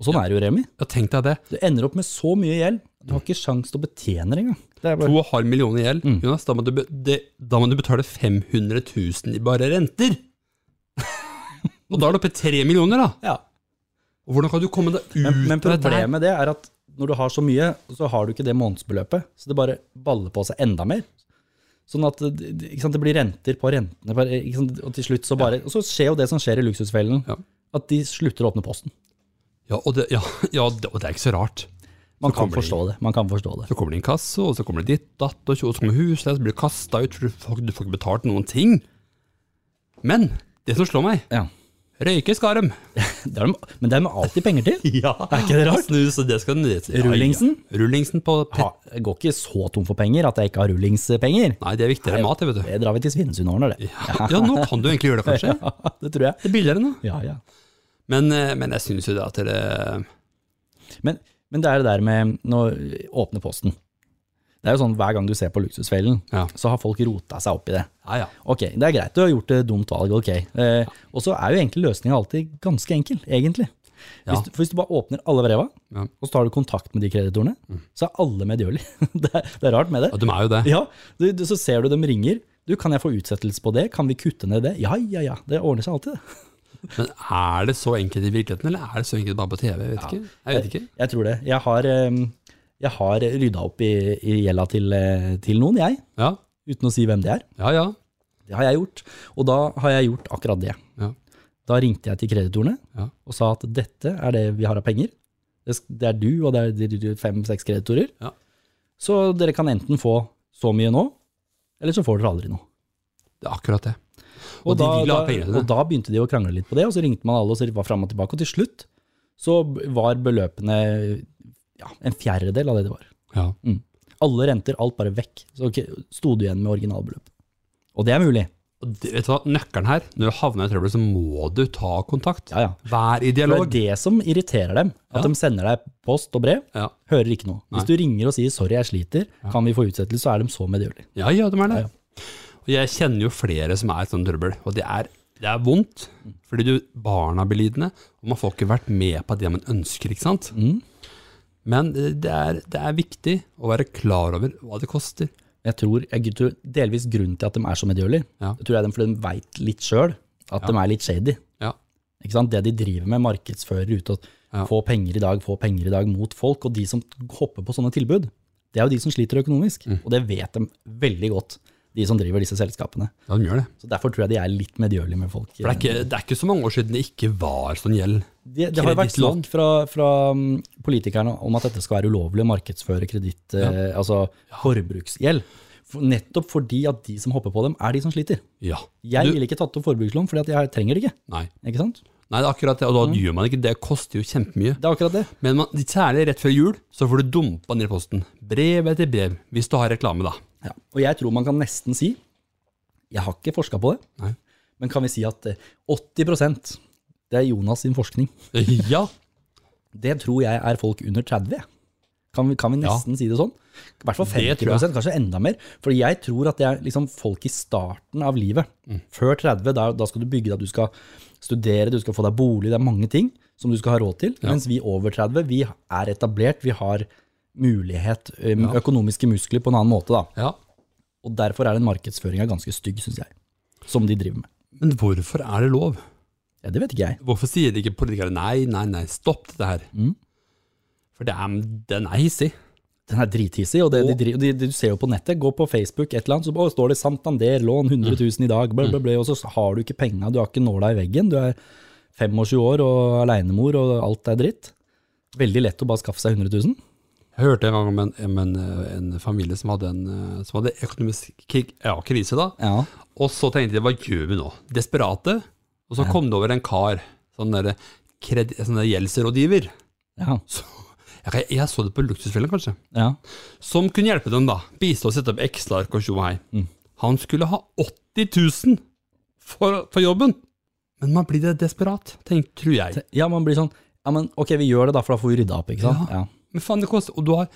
A: Og sånn er det jo, Remi.
B: Ja, tenk deg det.
A: Du ender opp med så mye gjeld, du har ikke sjans til å betjene det engang. Det er
B: To
A: bare...
B: og en halv million i gjeld.
A: Mm.
B: Jonas, da må, du be, det, da må du betale 500 000 i bare renter.
A: <laughs>
B: og da er du oppe i tre millioner, da.
A: Ja.
B: Og hvordan kan du komme deg ut
A: Men, men
B: av dette her?
A: problemet med det er at når du har så mye, så har du ikke det månedsbeløpet, så det bare baller på seg enda mer. Sånn at det- det- ikke sant, det blir renter på rentene, bare, ikke sant, og til slutt så bare Og så skjer jo det som skjer i luksusfellen,
B: Ja.
A: at de slutter å åpne posten.
B: Ja, og det, ja, <laughs> ja, det, og det er ikke så rart.
A: Man
B: Så
A: kan
B: kommer de-
A: forstå det. Man kan forstå det.
B: Så kommer det inkasso, og så kommer det ditt, datt, og tjo, og så kommer husleie, så blir du kasta ut, for du får, du får ikke betalt noen ting. Men det som slår meg,
A: Ja.
B: røyke skal dem.
A: Det er, de- men det er de alltid penger til.
B: <laughs> Ja, er
A: ikke det rart?
B: Snus, og det skal den ned til. Ja,
A: Rullingsen?
B: Ja. Rullingsen på pet.
A: ha, jeg går ikke så tom for penger at jeg ikke har rullingspenger.
B: Nei, det er viktigere enn mat, det, vet du.
A: Det drar vi til Svinesund og ordner, det.
B: Ja, nå kan du egentlig gjøre det,
A: <laughs>
B: kanskje.
A: Ja, det tror jeg.
B: Det er billigere nå.
A: Ja, ja.
B: Men, eh, men jeg syns jo det at det
A: Men, men det er det der med nå åpne posten. Det er jo sånn hver gang du ser på Luksusfellen,
B: Ja.
A: så har folk rota seg opp i det.
B: Ja, ja.
A: Ok, det er greit, du har gjort et dumt valg, ok. Eh, og så er jo egentlig løsningen alltid ganske enkel, egentlig.
B: Ja.
A: Hvis, du- for hvis du bare åpner alle breva,
B: Ja.
A: og så tar du kontakt med de kreditorene, så er alle medgjørlige. <laughs> det, er- det er rart med det.
B: ja, de er jo det.
A: Ja, du, du, så ser du dem ringer. Du, kan jeg få utsettelse på det? Kan vi kutte ned det? Ja, ja, ja. Det ordner seg alltid, det.
B: Men er det så enkelt i virkeligheten, eller er det så enkelt bare på TV? Jeg vet ikke. Jeg vet ikke.
A: Jeg tror det. Jeg har, em, jeg har rydda opp i, i gjelda til, eh, til noen, jeg.
B: Ja,
A: Uten å si hvem det er.
B: ja. ja.
A: Det har jeg gjort. Og da har jeg gjort akkurat det.
B: Ja.
A: Da ringte jeg til kreditorene
B: Ja.
A: og sa at dette er det vi har av penger. Det sk- Det er du og det er fem-seks kreditorer.
B: Ja.
A: Så dere kan enten få så mye nå, eller så får dere aldri noe.
B: Det er akkurat det. Og,
A: Og,
B: de
A: da,
B: vil ha
A: da-
B: penger til det.
A: og da begynte de å krangle litt på det, og så ringte man alle og så var fram og tilbake. Og til slutt så var beløpene ja, en fjerdedel av det det var.
B: Ja.
A: Mm. Alle renter, alt bare vekk. Så ok, sto du igjen med originalbeløp. Og det er mulig.
B: Og det, vet du hva, nøkkelen her, når du havner i trøbbel, så må du ta kontakt.
A: Ja, ja.
B: Vær i
A: For
B: dialog.
A: det er det som irriterer dem. At
B: Ja.
A: de sender deg post og brev,
B: Ja.
A: hører ikke noe. Hvis du ringer og sier 'sorry, jeg sliter', kan vi få utsettelse, så er de så medgjørlige.
B: ja, ja, de er det. Og jeg kjenner jo flere som er i sånn trøbbel, og det er, det er vondt. Fordi du, barna blir lidende, og man får ikke vært med på det man ønsker, ikke sant? Men eh, det er, det er viktig å være klar over hva det koster.
A: Jeg tror, jeg tror delvis grunnen til at de er så medgjørlige,
B: Ja.
A: det tror jeg er dem fordi de veit litt sjøl at de er litt shady.
B: Ja.
A: Ikke sant? Det de driver med, markedsfører ut og
B: Ja.
A: få penger i dag, få penger i dag mot folk,
B: Mm.
A: og de som hopper på sånne tilbud, det er jo de som sliter økonomisk, og det vet de veldig godt. de som driver disse selskapene.
B: Ja, de gjør det.
A: Så Derfor tror jeg de er litt medgjørlige med folk.
B: For det er, ikke, det er ikke så mange år siden det ikke var sånn gjeld.
A: Det, det har jo vært
B: Kredittlån.
A: snakk fra, fra mm, politikerne om at dette skal være ulovlig å markedsføre kreditt, eh, altså forbruksgjeld. For, nettopp fordi at de som hopper på dem, er de som sliter.
B: Ja.
A: Jeg
B: Du-
A: ville ikke tatt opp forbrukslån, fordi at jeg trenger det ikke.
B: Nei.
A: ikke sant?
B: Nei, det er akkurat det, og da gjør man ikke det. Det koster jo kjempemye.
A: Det er akkurat det.
B: Men man, særlig rett før jul, så får du dumpa ned i posten. Brev etter brev, hvis du har reklame, da.
A: Ja. Og jeg tror man kan nesten si, jeg har ikke forska på det,
B: Nei.
A: men kan vi si at eh, 80 det er Jonas sin forskning.
B: <laughs> Ja,
A: Det tror jeg er folk under 30. jeg. Kan vi, kan vi nesten si det sånn? I hvert fall 50
B: Det tror jeg.
A: kanskje enda mer. For jeg tror at det er liksom folk i starten av livet.
B: Mm.
A: Før 30, da, da skal du bygge deg, du skal studere, du skal få deg bolig, det er mange ting som du skal ha råd til. Mens vi over 30, vi er etablert, vi har mulighet, ø, økonomiske muskler på en annen måte. da.
B: ja.
A: Og derfor er den markedsføringa ganske stygg, syns jeg. Som de driver med.
B: Men hvorfor er det lov?
A: Ja, det vet ikke jeg.
B: Hvorfor sier ikke politikere nei, nei, nei, stopp dette her? For det er, den er hissig.
A: Den er drithissig, og, det, de,
B: Og-
A: driver- de, de, du ser jo på nettet, gå på Facebook, et eller annet, så å, står det Santander, lån 100 000 i dag, bla, bla, bla, og så har du ikke penga, du har ikke nåla i veggen, du er 25 år og alenemor, og alt er dritt. Veldig lett å bare skaffe seg 100 000.
B: Jeg hørte en gang om en, om en, eh, en familie som hadde, en, eh, som hadde økonomisk krig, ja, krise, da.
A: Ja.
B: Og så tenkte de, hva gjør vi nå? Desperate. Og så kom det over en kar, sånn der, kredi, sånn der gjeldsrådgiver.
A: Ja.
B: Så, jeg, jeg så det på luksusfellen, kanskje.
A: ja.
B: Som kunne hjelpe dem, da. Bistå å sette opp Excel-ark og tjo og hei. Han skulle ha 80 000 for, for jobben! Men man blir det desperat, tenk, tror jeg.
A: ja, man blir sånn, ja, men ok, vi gjør det da, for da får vi rydda opp, ikke sant? Ja.
B: Men faen, det koster Og du har,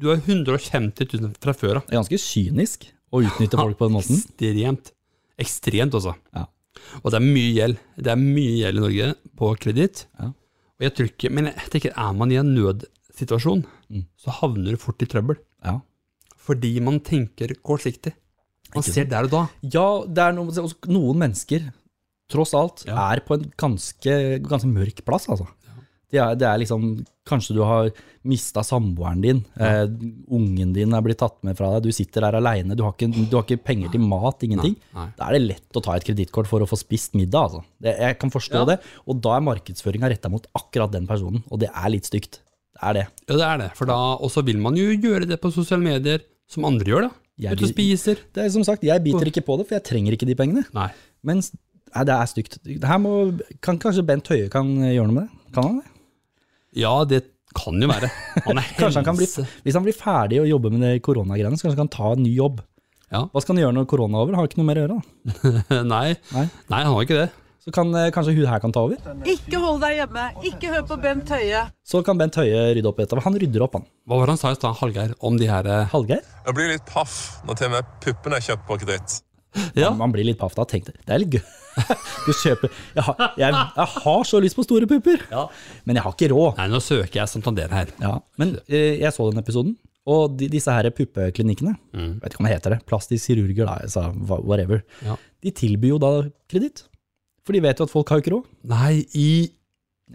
B: du har 150 000 fra før av.
A: Det er ganske kynisk å utnytte folk på den måten.
B: Ekstremt. Ekstremt, altså.
A: Ja.
B: Og det er mye gjeld. Det er mye gjeld i Norge på kreditt.
A: Ja.
B: Og jeg tror ikke Men jeg tenker, er man i en nødsituasjon,
A: Mm.
B: så havner du fort i trøbbel.
A: Ja.
B: Fordi man tenker kortsiktig. Man
A: Ikke
B: ser der og da.
A: Ja, det er noe, altså, noen mennesker, tross alt,
B: Ja.
A: er på en ganske, ganske mørk plass, altså. Det er, det er liksom, kanskje du har mistet samboeren din, eh, ungen din er blitt tatt med fra deg, du sitter der alene, du har ikke, du har ikke penger til mat, ingenting.
B: Nei, nei.
A: Da er det lett å ta et kreditkort for å få spist middag, altså. Det, jeg kan forstå
B: Ja.
A: det, og da er markedsføringen rettet mot akkurat den personen, og det er litt stygt. Det er det.
B: Ja, det er det. For da, og så vil man jo gjøre det på sosiale medier, som andre gjør, da.
A: Jeg
B: Ute og
A: vil-
B: spiser.
A: Det er som sagt, jeg biter ikke på det, for jeg trenger ikke de pengene.
B: Nei.
A: Men s- nei, det er stygt. Det Her må, kan kanskje Bent Høie kan eh, gjøre noe med det? Kan han det?
B: Ja, det kan jo være. Han er
A: <laughs> Kanskje han kan bli,
B: helse. <laughs>
A: hvis han blir ferdig å jobbe med det koronagreiene, så kanskje han kan ta en ny jobb.
B: Ja.
A: Hva skal han gjøre når korona er over? Har ikke noe mer å gjøre. da.
B: Nei. Nei,
A: Nei.
B: han har ikke det.
A: Så kan, eh, kanskje hun her kan ta over.
F: Ikke hold deg hjemme. Ikke hør på Bent Høie.
A: Så kan Bent Høie rydde opp etter. Han rydder opp, han.
B: Hva var det han sa i stad, Hallgeir, om de her eh,
A: Hallgeir?
D: Jeg blir litt paff når til og med puppene er kjøpt på kreditt.
B: Ja.
A: Man blir litt paff da. Tenk det. Det er litt gøy. <laughs> Du kjøper jeg har, jeg, jeg har så lyst på store pupper, men jeg har ikke råd.
B: Nei, nå søker jeg Santander her.
A: Ja, men eh, jeg så den episoden, og de, disse her puppeklinikkene, vet ikke hva det heter det, plastisk kirurger da, altså hva- whatever,
B: Mm. Ja.
A: de tilbyr jo da kreditt. For de vet jo at folk har jo ikke råd.
B: Nei, i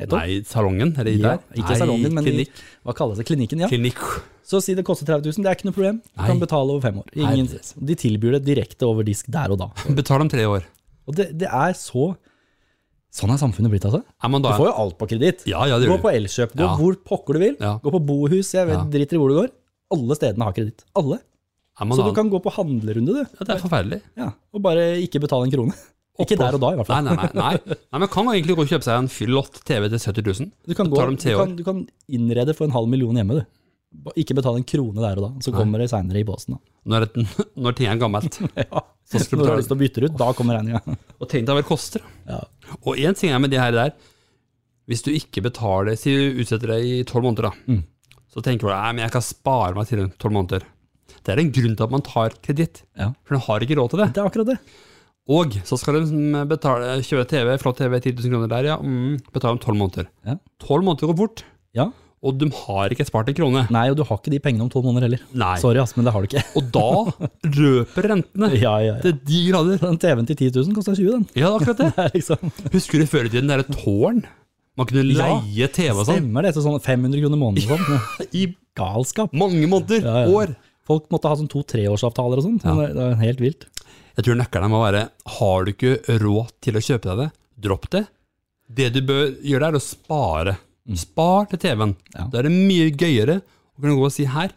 A: Nettopp.
B: Nei, salongen? Eller i
A: Ja,
B: der?
A: ikke
B: Nei,
A: salongen, men
B: klinikk.
A: i, hva kalles det, klinikken, ja.
B: Klinikk.
A: Så si det koster 30 000, det er ikke noe problem. Du
B: Nei.
A: kan betale over fem år. Ingen,
B: Herre.
A: de tilbyr det direkte over disk der og da.
B: Betal om tre år.
A: Og det, det er så Sånn er samfunnet blitt, altså.
B: Er man
A: Du
B: da
A: får jo alt på kreditt.
B: Ja, ja, det
A: Gå
B: gjør du.
A: på Elkjøp, gå
B: Ja.
A: hvor pokker du vil.
B: Ja.
A: Gå på bohus, jeg vet,
B: Ja.
A: driter i hvor du går. Alle stedene har kreditt. Alle.
B: Er man
A: Så du
B: da-
A: kan gå på handlerunde, du.
B: ja, Det er forferdelig.
A: Ja. Og bare ikke betale en krone. Ikke der og da, i hvert
B: Nei,
A: fall.
B: nei, nei. nei.
A: <laughs>
B: nei men kan man egentlig gå og kjøpe seg en flott TV til 70 000?
A: Du kan, gå,
B: Betaler om
A: du,
B: tre år.
A: kan, du kan innrede for en halv million hjemme, du. Ba- Ikke betale en krone der og da. Så kommer det seinere i posten. da.
B: Når, et, <laughs> når ting er gammelt.
A: <laughs> Ja.
B: Så
A: Når
B: skal du
A: du har
B: betale.
A: lyst til å bytte det ut, da kommer
B: <laughs>
A: regninga.
B: Og tenk deg hva det koster.
A: Ja.
B: Og én ting er med de her der. Hvis du ikke betaler, si du utsetter deg i tolv måneder, da.
A: Mm.
B: Så tenker du nei, men jeg kan spare meg til tolv måneder. Det er en grunn til at man tar kreditt.
A: Ja.
B: For den har ikke råd til det.
A: Det er akkurat det.
B: Og så skal de mm, betale, kjøre TV, flott TV, 10 000 kroner der, ja. Mm, betale om tolv måneder.
A: Ja.
B: Tolv måneder går fort,
A: Ja.
B: og de har ikke spart en krone.
A: Nei, og du har ikke de pengene om tolv måneder heller.
B: Nei.
A: Sorry, ass, men det har du ikke. <laughs>
B: Og da løper rentene
A: Ja, ja, ja.
B: til de grader.
A: Den TV-en til 10 000 kosta 20 den.
B: Ja, det er akkurat det.
A: <laughs> Det er liksom,
B: Husker du før i tiden det derre tårn? Man kunne
A: Ja,
B: leie TV og sånn <laughs>
A: stemmer det til sånn 500 kroner måneden og sånn?
B: i
A: Galskap.
B: mange måneder,
A: Ja, ja.
B: år.
A: Folk måtte ha sånn to-treårsavtaler og sånn. men Det det var helt vilt.
B: Jeg tror nøkkelen må være Har du ikke råd til å kjøpe deg det, dropp det. Det du bør gjøre, er å spare. Spar til TV-en.
A: Mm. Ja.
B: Da er det mye gøyere å kunne gå og si her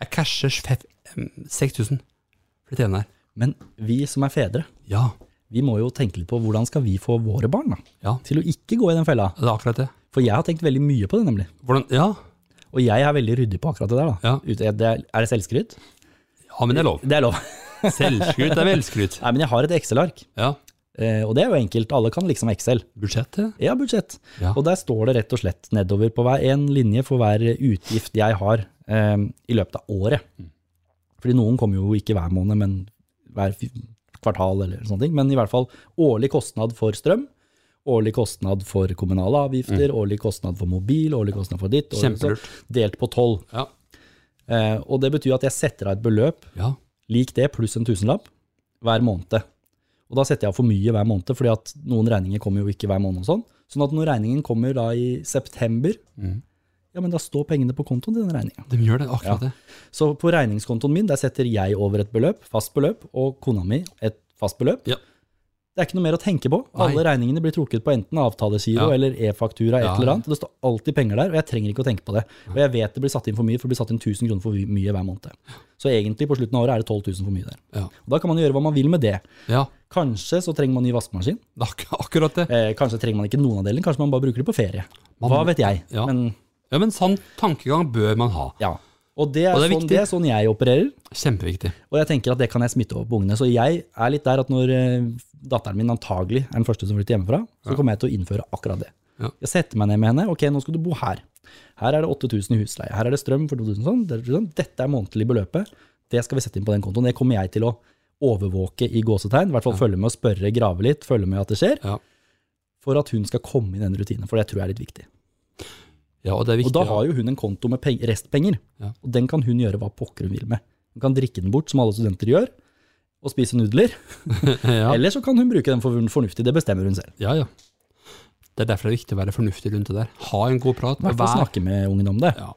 B: Jeg casher fef- em, 6000 for TV-en her.
A: Men vi som er fedre,
B: Ja,
A: vi må jo tenke litt på hvordan skal vi få våre barn da,
B: ja,
A: til å ikke gå i den fella.
B: det er akkurat det.
A: For jeg har tenkt veldig mye på det, nemlig.
B: Hvordan, ja,
A: Og jeg er veldig ryddig på akkurat det der. da.
B: Ja.
A: Ut- jeg- det er, er det selvskryt?
B: ja, men det er lov.
A: Det er lov. <laughs>
B: Selvskryt er velskryt.
A: Nei, men jeg har et Excel-ark,
B: Ja.
A: eh, og det er jo enkelt. Alle kan liksom Excel.
B: Budsjettet?
A: Jeg har budsjett.
B: Ja.
A: Og der står det rett og slett nedover på hver en linje for hver utgift jeg har eh, i løpet av året.
B: Mm.
A: Fordi noen kommer jo ikke hver måned, men hver fi- kvartal eller sånne ting. Men i hvert fall årlig kostnad for strøm, årlig kostnad for kommunale avgifter, årlig kostnad for mobil, årlig kostnad for ditt. årlig-
B: Mm. Kjempelurt.
A: Delt på tolv.
B: Ja.
A: Eh, og det betyr at jeg setter av et beløp
B: ja.
A: lik det pluss en tusenlapp hver måned. Og da setter jeg av for mye hver måned, fordi at noen regninger kommer jo ikke hver måned. og sånn. Sånn at når regningen kommer da i september,
B: Mm.
A: ja, men da står pengene på kontoen til den regninga.
B: De gjør det, akkurat det.
A: Så på regningskontoen min der setter jeg over et beløp, fast beløp, og kona mi et fast beløp.
B: Ja.
A: Det er ikke noe mer å tenke på.
B: Nei.
A: Alle regningene blir trukket på enten avtalegiro
B: Ja.
A: eller e-faktura. et
B: Ja.
A: eller annet. Det står alltid penger der, og jeg trenger ikke å tenke på det. Og jeg vet det blir satt inn for mye, for det blir satt inn 1000 kroner for mye hver måned. Så egentlig på slutten av året er det 12 000 for mye der.
B: Ja.
A: Og da kan man gjøre hva man vil med det.
B: ja.
A: Kanskje så trenger man ny vaskemaskin.
B: Det er ak- akkurat det.
A: Eh, kanskje trenger man ikke noen av delene. Kanskje man bare bruker det på ferie.
B: Man-
A: Hva vet jeg.
B: Ja.
A: Men,
B: Ja, men sånn tankegang bør man ha.
A: ja. Og det er,
B: Og det er
A: sånn,
B: viktig.
A: det er sånn jeg opererer.
B: Kjempeviktig.
A: Og jeg tenker at det kan jeg smitte over på ungene. Så jeg er litt der at når eh, datteren min antagelig er den første som flytter hjemmefra, så kommer jeg til å innføre akkurat det.
B: Ja.
A: Jeg setter meg ned med henne. Ok, nå skal du bo her. Her er det 8000 i husleie. Her er det strøm for 2000 sånn. der- sånn. Dette er månedlig beløpet. Det skal vi sette inn på den kontoen. Det kommer jeg til å overvåke i gåsetegn. I hvert fall følge med og spørre, grave litt, følge med at det skjer.
B: Ja.
A: For at hun skal komme i den rutinen. For det tror jeg er litt viktig.
B: Ja, og det er viktig.
A: Og da har jo hun en konto med peng- restpenger,
B: Ja.
A: og den kan hun gjøre hva pokker hun vil med. Hun kan drikke den bort, som alle studenter gjør, og spise nudler.
B: ja.
A: Eller så kan hun bruke den for fornuftig, det bestemmer hun selv.
B: Ja, ja. Det er derfor det er viktig å være fornuftig rundt det der. Ha en god prat.
A: I hvert fall
B: vær-
A: snakke med ungen om det.
B: Ja.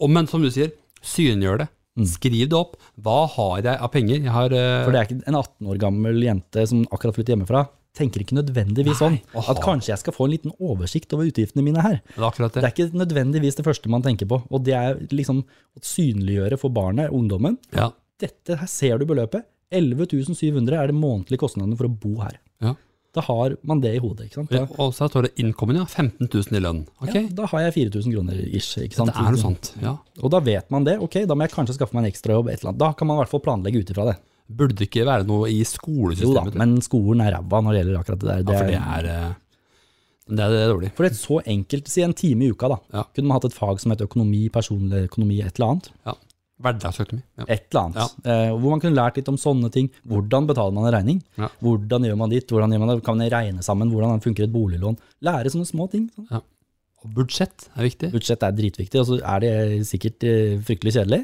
B: Og, men som du sier, synliggjør det. Skriv det opp. Hva har jeg av penger? Jeg har
A: Mm.
B: eh,
A: For det er ikke en 18 år gammel jente som akkurat flytter hjemmefra, tenker ikke nødvendigvis sånn
B: aha.
A: at kanskje jeg skal få en liten oversikt over utgiftene mine her.
B: det er akkurat
A: Det
B: det.
A: er ikke nødvendigvis det første man tenker på, og det er liksom å synliggjøre for barnet, ungdommen,
B: Ja.
A: dette her ser du beløpet, 11.700 er det månedlige kostnadene for å bo her.
B: ja.
A: Da har man det i hodet, ikke sant? Da,
B: Og så står det innkommen, ja. 15 000 i lønn. Ok,
A: ja, da har jeg 4000 kroner ish. Ikke sant?
B: det er noe sånt. Ja.
A: Og da vet man det. Ok, da må jeg kanskje skaffe meg en ekstrajobb. et eller annet. Da kan man i hvert fall planlegge ut ifra det.
B: Burde det ikke være noe i
A: Jo da,
B: skolesystemet?
A: men skolen er ræva når det gjelder akkurat det der.
B: ja,
A: Det
B: for
A: er,
B: det er, eh, det er, det er dårlig.
A: for det er så enkelt, si en time i uka, da.
B: Ja.
A: Kunne man hatt et fag som heter økonomi, personlig økonomi, et eller annet.
B: Ja. Hverdagsøkonomi. Ja.
A: Et eller annet. Eh, hvor man kunne lært litt om sånne ting. Hvordan betaler man en regning?
B: Ja.
A: Hvordan gjør man ditt? Hvordan gjør man det? Kan man regne sammen? Hvordan funker et boliglån? Lære sånne små ting. Sånn.
B: Og budsjett er viktig.
A: Budsjett er dritviktig, og så er det sikkert eh, fryktelig kjedelig.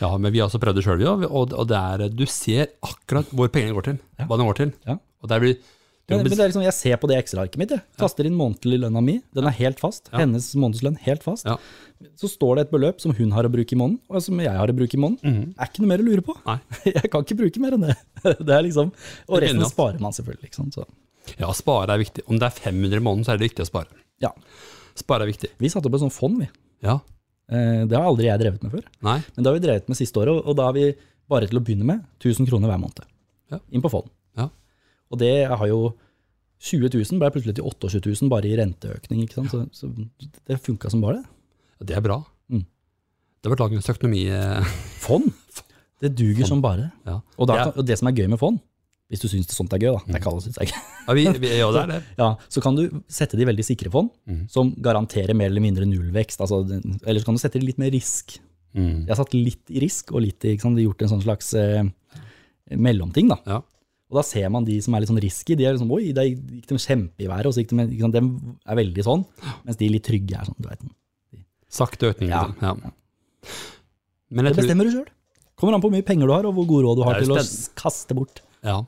B: Ja, men vi har også prøvd det sjøl, og, og det er, eh, du ser akkurat hvor pengene går til. Hva de går til.
A: Ja.
B: Og der blir, du
A: Men,
B: må
A: men
B: bes-
A: det er liksom, jeg ser på det Excel-arket mitt. Jeg. Taster inn månedlig lønna mi. Den er helt fast. Hennes månedslønn helt fast.
B: Ja.
A: Så står det et beløp som hun har å bruke i måneden, og som jeg har å bruke i måneden. Er ikke noe mer å lure på.
B: Nei.
A: <laughs> Jeg kan ikke bruke mer enn det. <laughs> det er liksom, og
B: Det er
A: resten
B: genialt.
A: sparer man selvfølgelig. Ikke sant? Så,
B: Ja, spare er viktig. Om det er 500 i måneden, så er det viktig å spare.
A: ja.
B: Spare er viktig.
A: Vi satte opp et sånt fond, vi.
B: Ja.
A: Eh, Det har aldri jeg drevet med før.
B: Nei.
A: Men det har vi drevet med siste året, og da har vi bare til å begynne med 1000 kroner hver måned.
B: Ja.
A: Inn på fond.
B: Ja.
A: Og det har jo 20 000 ble plutselig til 28 000 bare i renteøkning. Ikke sant? Så, så det funka som bare det.
B: Ja, Det er bra.
A: Mm.
B: Det var dagens økonomi. eh, <laughs>
A: Fond? Det duger som bare det.
B: Ja.
A: Og, da,
B: Ja. Mm.
A: og det som er gøy med fond, hvis du syns det sånt er gøy, da, det er ikke alle syns jeg,
B: Ja, vi, vi, ja det er det.
A: ja, så kan du sette det i veldig sikre fond,
B: Mm.
A: som garanterer mer eller mindre nullvekst. Altså, den- eller så kan du sette det i litt mer risk. Jeg
B: Mm.
A: har satt litt i risk, og litt i ikke sant? gjort en sånn slags eh, mellomting. da.
B: Ja.
A: Og da ser man de som er litt sånn risky, de er liksom, oi, der gikk de kjempe i været, og så gikk de, ikke sant? de er veldig sånn, mens de litt trygge er sånn, du vet.
B: Sakte økning.
A: Ja.
B: liksom. Ja. Men
A: Det
B: jeg tror,
A: bestemmer du selv. Kommer an på hvor mye penger du har, og hvor god råd du har
B: Det er
A: til å
B: spennende.
A: kaste bort.
B: ja.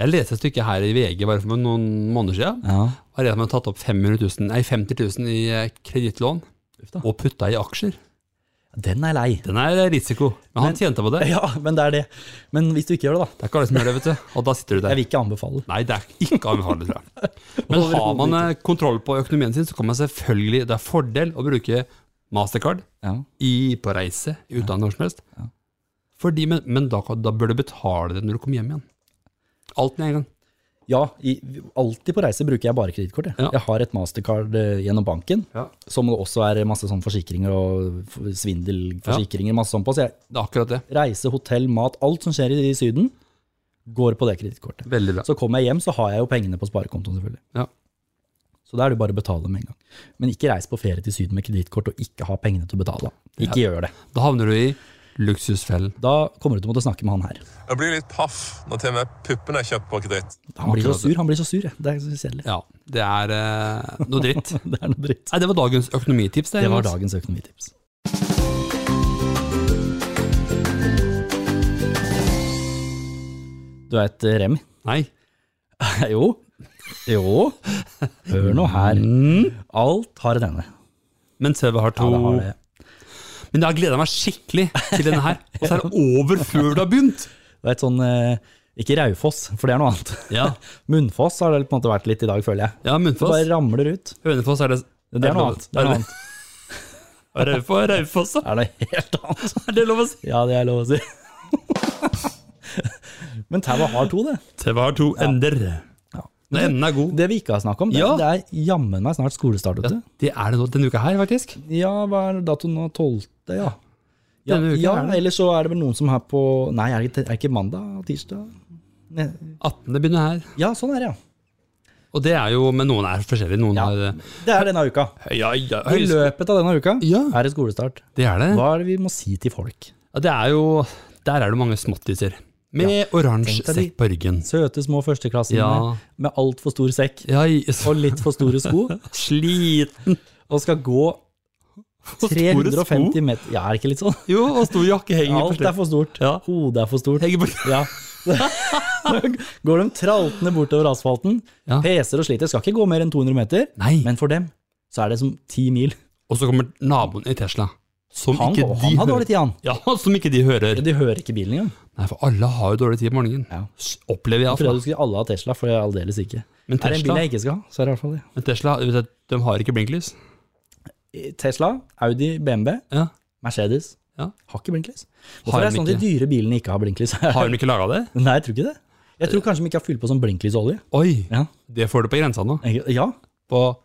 B: Jeg leste et stykke her i VG bare for noen måneder siden.
A: Ja,
B: Har jeg tatt opp 500 000, nei, 50 000 i eh, kredittlån
A: Uff da.
B: og putta i aksjer.
A: Den er lei. <laughs>
B: Den er risiko, men han tjente på det.
A: Ja, men det er det. Men hvis du ikke gjør det, da.
B: Det er ikke alle som gjør det, vet du. Og da sitter du
A: Jeg
B: der.
A: vil ikke anbefale.
B: Nei, det er ikke anbefalt,
A: <laughs>
B: tror jeg. Men har man eh, kontroll på økonomien sin, så kan man selvfølgelig Det er fordel å bruke mastercard
A: Ja.
B: i, på reise, i utlandet, når som helst. Fordi, men men da, kan- da bør du betale det når du kommer hjem igjen. Alt med en gang.
A: Ja, i, alltid på reise bruker jeg bare kredittkort. Jeg.
B: Ja.
A: jeg har et mastercard eh, gjennom banken,
B: Ja.
A: som det også er masse sånn forsikringer og f- svindelforsikringer. masse sånn på, Så jeg
B: Det er akkurat det.
A: reise, hotell, mat, alt som skjer i, i Syden, går på det kredittkortet.
B: Veldig bra.
A: Så kommer jeg hjem, så har jeg jo pengene på sparekontoen, selvfølgelig.
B: Ja.
A: Så da er det bare å betale med en gang. Men ikke reis på ferie til Syden med kredittkort og ikke ha pengene til å betale. Ikke gjør det.
B: Da havner du i luksusfellen.
A: Da kommer du til å måtte snakke med han her.
D: Jeg blir litt paff når til og med puppene er kjøpt på kreditt.
A: Han blir så
B: Akkurat
A: sur, han blir så sur. jeg. Det er så kjedelig. <laughs>
B: Ja, det er eh, noe dritt.
A: Det er noe dritt.
B: Nei, det var dagens økonomitips.
A: Det var
B: Jonas.
A: dagens økonomitips. Du veit, Remi <laughs>
B: Nei.
A: Jo. Jo. Hør nå her.
B: Mm.
A: Alt har en ende.
B: Men TV har to
A: Ja, det har det.
B: Men jeg har gleda meg skikkelig til denne her. Og så er det over før det har begynt!
A: Det er et sånn eh, Ikke Raufoss, for det er noe annet.
B: Ja.
A: <laughs> Munnfoss har det på en måte vært litt i dag, føler jeg.
B: Ja,
A: Det bare
B: Munnfoss.
A: ramler ut.
B: Hønefoss er det
A: Det er noe annet. Det er noe annet.
B: Raufoss, Raufoss, da.
A: Det er noe helt annet. <laughs>
B: Er det lov å si?
A: Ja, det er lov å si. <laughs> Men Taua har to, det.
B: TV har to ender.
A: Ja.
B: Når enden er god.
A: Det vi ikke har snakket om, det,
B: Ja.
A: det er jammen meg snart skolestart.
B: Ja,
A: vet du.
B: det er det nå denne uka her, faktisk.
A: Ja, hva er datoen nå? 12. Ja. Ja,
B: Denne uka
A: ja
B: er det.
A: eller så er det vel noen som er på Nei, er det ikke, er det ikke mandag? Tirsdag? Ne-
B: 18. begynner her.
A: Ja, sånn er det, ja.
B: Og det er jo Men noen er forskjellige. Noen
A: Ja.
B: eh, er
A: Det er denne uka.
B: Ja, ja,
A: I
B: høyest.
A: løpet av denne uka
B: Ja.
A: er det skolestart.
B: Det er det.
A: Hva er det vi må si til folk?
B: Ja, det er jo Der er det mange småttiser. Med oransje
A: Tenk deg de-
B: sekk på ryggen.
A: Søte små førsteklassinger
B: Ja.
A: med altfor stor sekk
B: Ja, i- så
A: og litt for store
B: <laughs>
A: sko,
B: sliten.
A: og skal gå
B: Og store sko.
A: 350 meter Ja, er det ikke litt sånn?
B: Jo, og stor jakke henger
A: Alt er for stort.
B: Ja.
A: Hodet er for stort.
B: Henger på
A: Ja. <laughs> Går de traltende bortover asfalten,
B: Ja.
A: peser og sliter, skal ikke gå mer enn 200 meter,
B: Nei.
A: men for dem så er det som 10 mil.
B: Og så kommer naboen i Tesla. Som
A: Han,
B: ikke
A: og
B: de
A: han har
B: hører.
A: dårlig tid, han.
B: Ja, som ikke de hører.
A: De hører ikke bilen engang.
B: Nei, for alle har jo dårlig tid på morgenen.
A: Ja.
B: S- Opplever jeg.
A: Jeg trodde
B: Altså.
A: du skulle alle ha Tesla, for jeg er aldeles ikke.
B: Men
A: Er det en bil
B: Tesla,
A: jeg ikke skal ha, så er det i hvert fall det.
B: men Tesla du vet, at de har ikke blinklys.
A: Tesla, Audi, BMW,
B: Ja.
A: Mercedes
B: Ja.
A: har ikke blinklys.
B: Har
A: Hvorfor er det
B: de
A: sånn at de dyre bilene ikke har blinklys? Nei, <laughs>
B: Har de ikke laga det?
A: jeg tror ikke det. Jeg tror kanskje de ikke har fylt på sånn blinklysolje.
B: <laughs> Oi,
A: Ja.
B: det får du på grensa nå.
A: ja.
B: På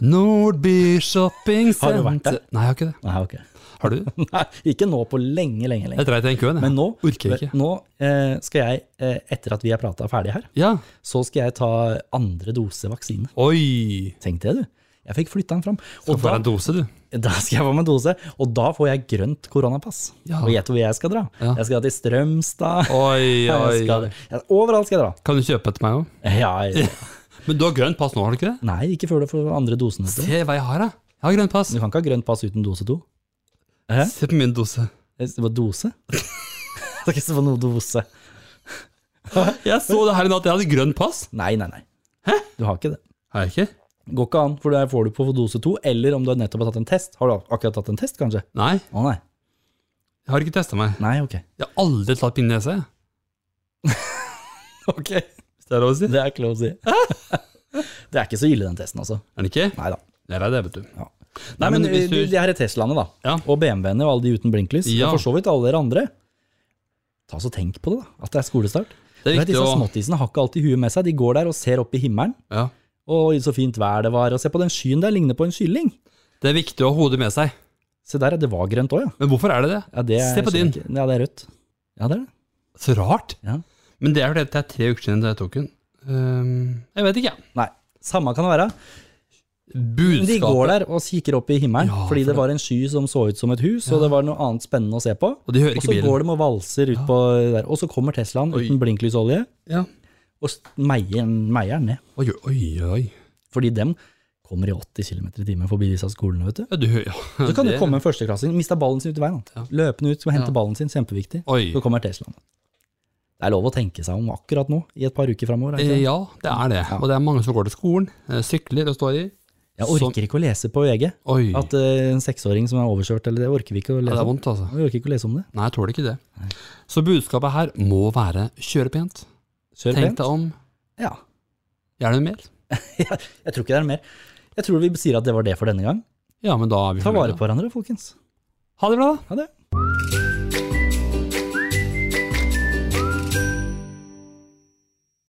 B: Nordby Shopping
A: Har du
B: Center.
A: vært der?
B: Nei, jeg har ikke det.
A: Nei, ok. <laughs>
B: Har du?
A: Nei, ikke nå på lenge, lenge, lenge.
B: Jeg dreit i den køen. jeg.
A: Men nå,
B: Orker jeg ikke.
A: nå eh, skal jeg, eh, etter at vi har prata ferdig her,
B: Ja.
A: så skal jeg ta andre dose vaksine.
B: Oi.
A: Tenk det, du. Jeg fikk flytta den fram.
B: Du
A: Og
B: får
A: da,
B: deg en dose, du.
A: <laughs> da skal jeg få meg dose, og da får jeg grønt koronapass.
B: Ja.
A: Og gjett hvor jeg skal dra.
B: Ja.
A: Jeg skal til Strømstad.
B: Oi,
A: <laughs> Jeg
B: oi.
A: skal, jeg, overalt skal jeg
B: <laughs>
A: dra.
B: Kan du kjøpe et til meg òg?
A: Ja, jeg,
B: Men du har grønt pass nå, har du ikke det?
A: nei, ikke før du får andre dosen. vet du.
B: Se hva jeg har, da. Jeg har grønt pass.
A: Du kan ikke ha grønt pass uten dose to. Hæ?
B: Se på min dose.
A: Det var
B: <laughs>
A: dose? <laughs> Det er ikke så noe dose.
B: Jeg så det her i natt. Jeg hadde grønt pass.
A: Nei, nei, nei. Du har ikke det.
B: Har jeg ikke?
A: Går ikke an, for der får du på dose to, eller om du har nettopp har tatt en test. Har du akkurat tatt en test, kanskje?
B: Nei,
A: Å nei.
B: jeg har ikke testa meg.
A: Nei, ok.
B: Jeg har aldri tatt min nese.
A: <laughs> Ok.
B: Hvis det er lov å si.
A: Det <laughs> er ikke lov å si. det er ikke så ille, den testen, altså.
B: Er det ikke?
A: Nei da.
B: Det er det, vet du.
A: Ja.
B: Nei,
A: Nei, men
B: men hvis
A: du,
B: du
A: de her Teslaene, da.
B: Ja.
A: Og BMW-ene og alle de uten blinklys.
B: Ja.
A: Og for så vidt alle dere andre. Ta så Tenk på det, da. At det er skolestart.
B: Det
A: Du
B: er
A: vet,
B: viktig
A: Disse
B: å
A: småttisene har ikke alltid huet med seg. De går der og ser opp i himmelen.
B: ja.
A: Og så fint vær det var. Og se på den skyen der, ligner på en kylling.
B: Det er viktig å ha hodet med seg.
A: Se der, ja. Det var grønt òg, ja.
B: Men hvorfor er det det?
A: ja det er-
B: Se på
A: skjønner
B: din.
A: ikke- Ja, det er rødt. Ja, det er det.
B: Så rart.
A: Ja.
B: Men det er jo det at det er tre uker siden jeg tok den. Ehm, jeg vet ikke, jeg.
A: Nei. Samme kan det være. Men De
B: Budskapet.
A: går der og kikker opp i himmelen
B: Ja,
A: fordi det
B: for det-
A: var en sky som så ut som et hus, og det var noe annet spennende å se på.
B: Og de hører
A: Og så
B: ikke bilen.
A: går de og valser ut på der, og så kommer Teslaen
B: Oi.
A: uten blinklysolje
B: Ja.
A: og s- meier meier den ned.
B: Oi, oi, oi.
A: Fordi dem kommer i 80 km i timen forbi disse skolene,
B: <laughs>
A: vet du.
B: Ja, du hører ja.
A: Så kan det
B: det-
A: komme en førsteklassing, mista ballen sin ut i veien. da. Løpende ut, skal hente ballen sin, kjempeviktig.
B: Oi.
A: Så kommer Teslaen. Det er lov å tenke seg om akkurat nå, i et par uker framover.
B: Eh, Ja, det er det. Og det er mange som går til skolen, eh, sykler og står i.
A: Jeg orker
B: Sånn.
A: ikke å lese på VG
B: Oi.
A: at liksom- eh, en seksåring som er overkjørt, eller det orker vi ikke å
B: Ja, det
A: lese
B: er
A: om.
B: vondt, altså.
A: Jeg orker ikke å lese om det.
B: Nei, jeg tåler ikke det. Så budskapet her må være kjøre pent.
A: Kjør
B: Tenk
A: pent.
B: deg om.
A: Ja.
B: Gjerne mer.
A: Jeg tror ikke det er mer. Jeg tror vi sier at det var det for denne gang.
B: Ja, men da er vi
A: Ta vare
B: fornøyde.
A: på hverandre, folkens.
B: Ha det bra, da.
A: Ha det.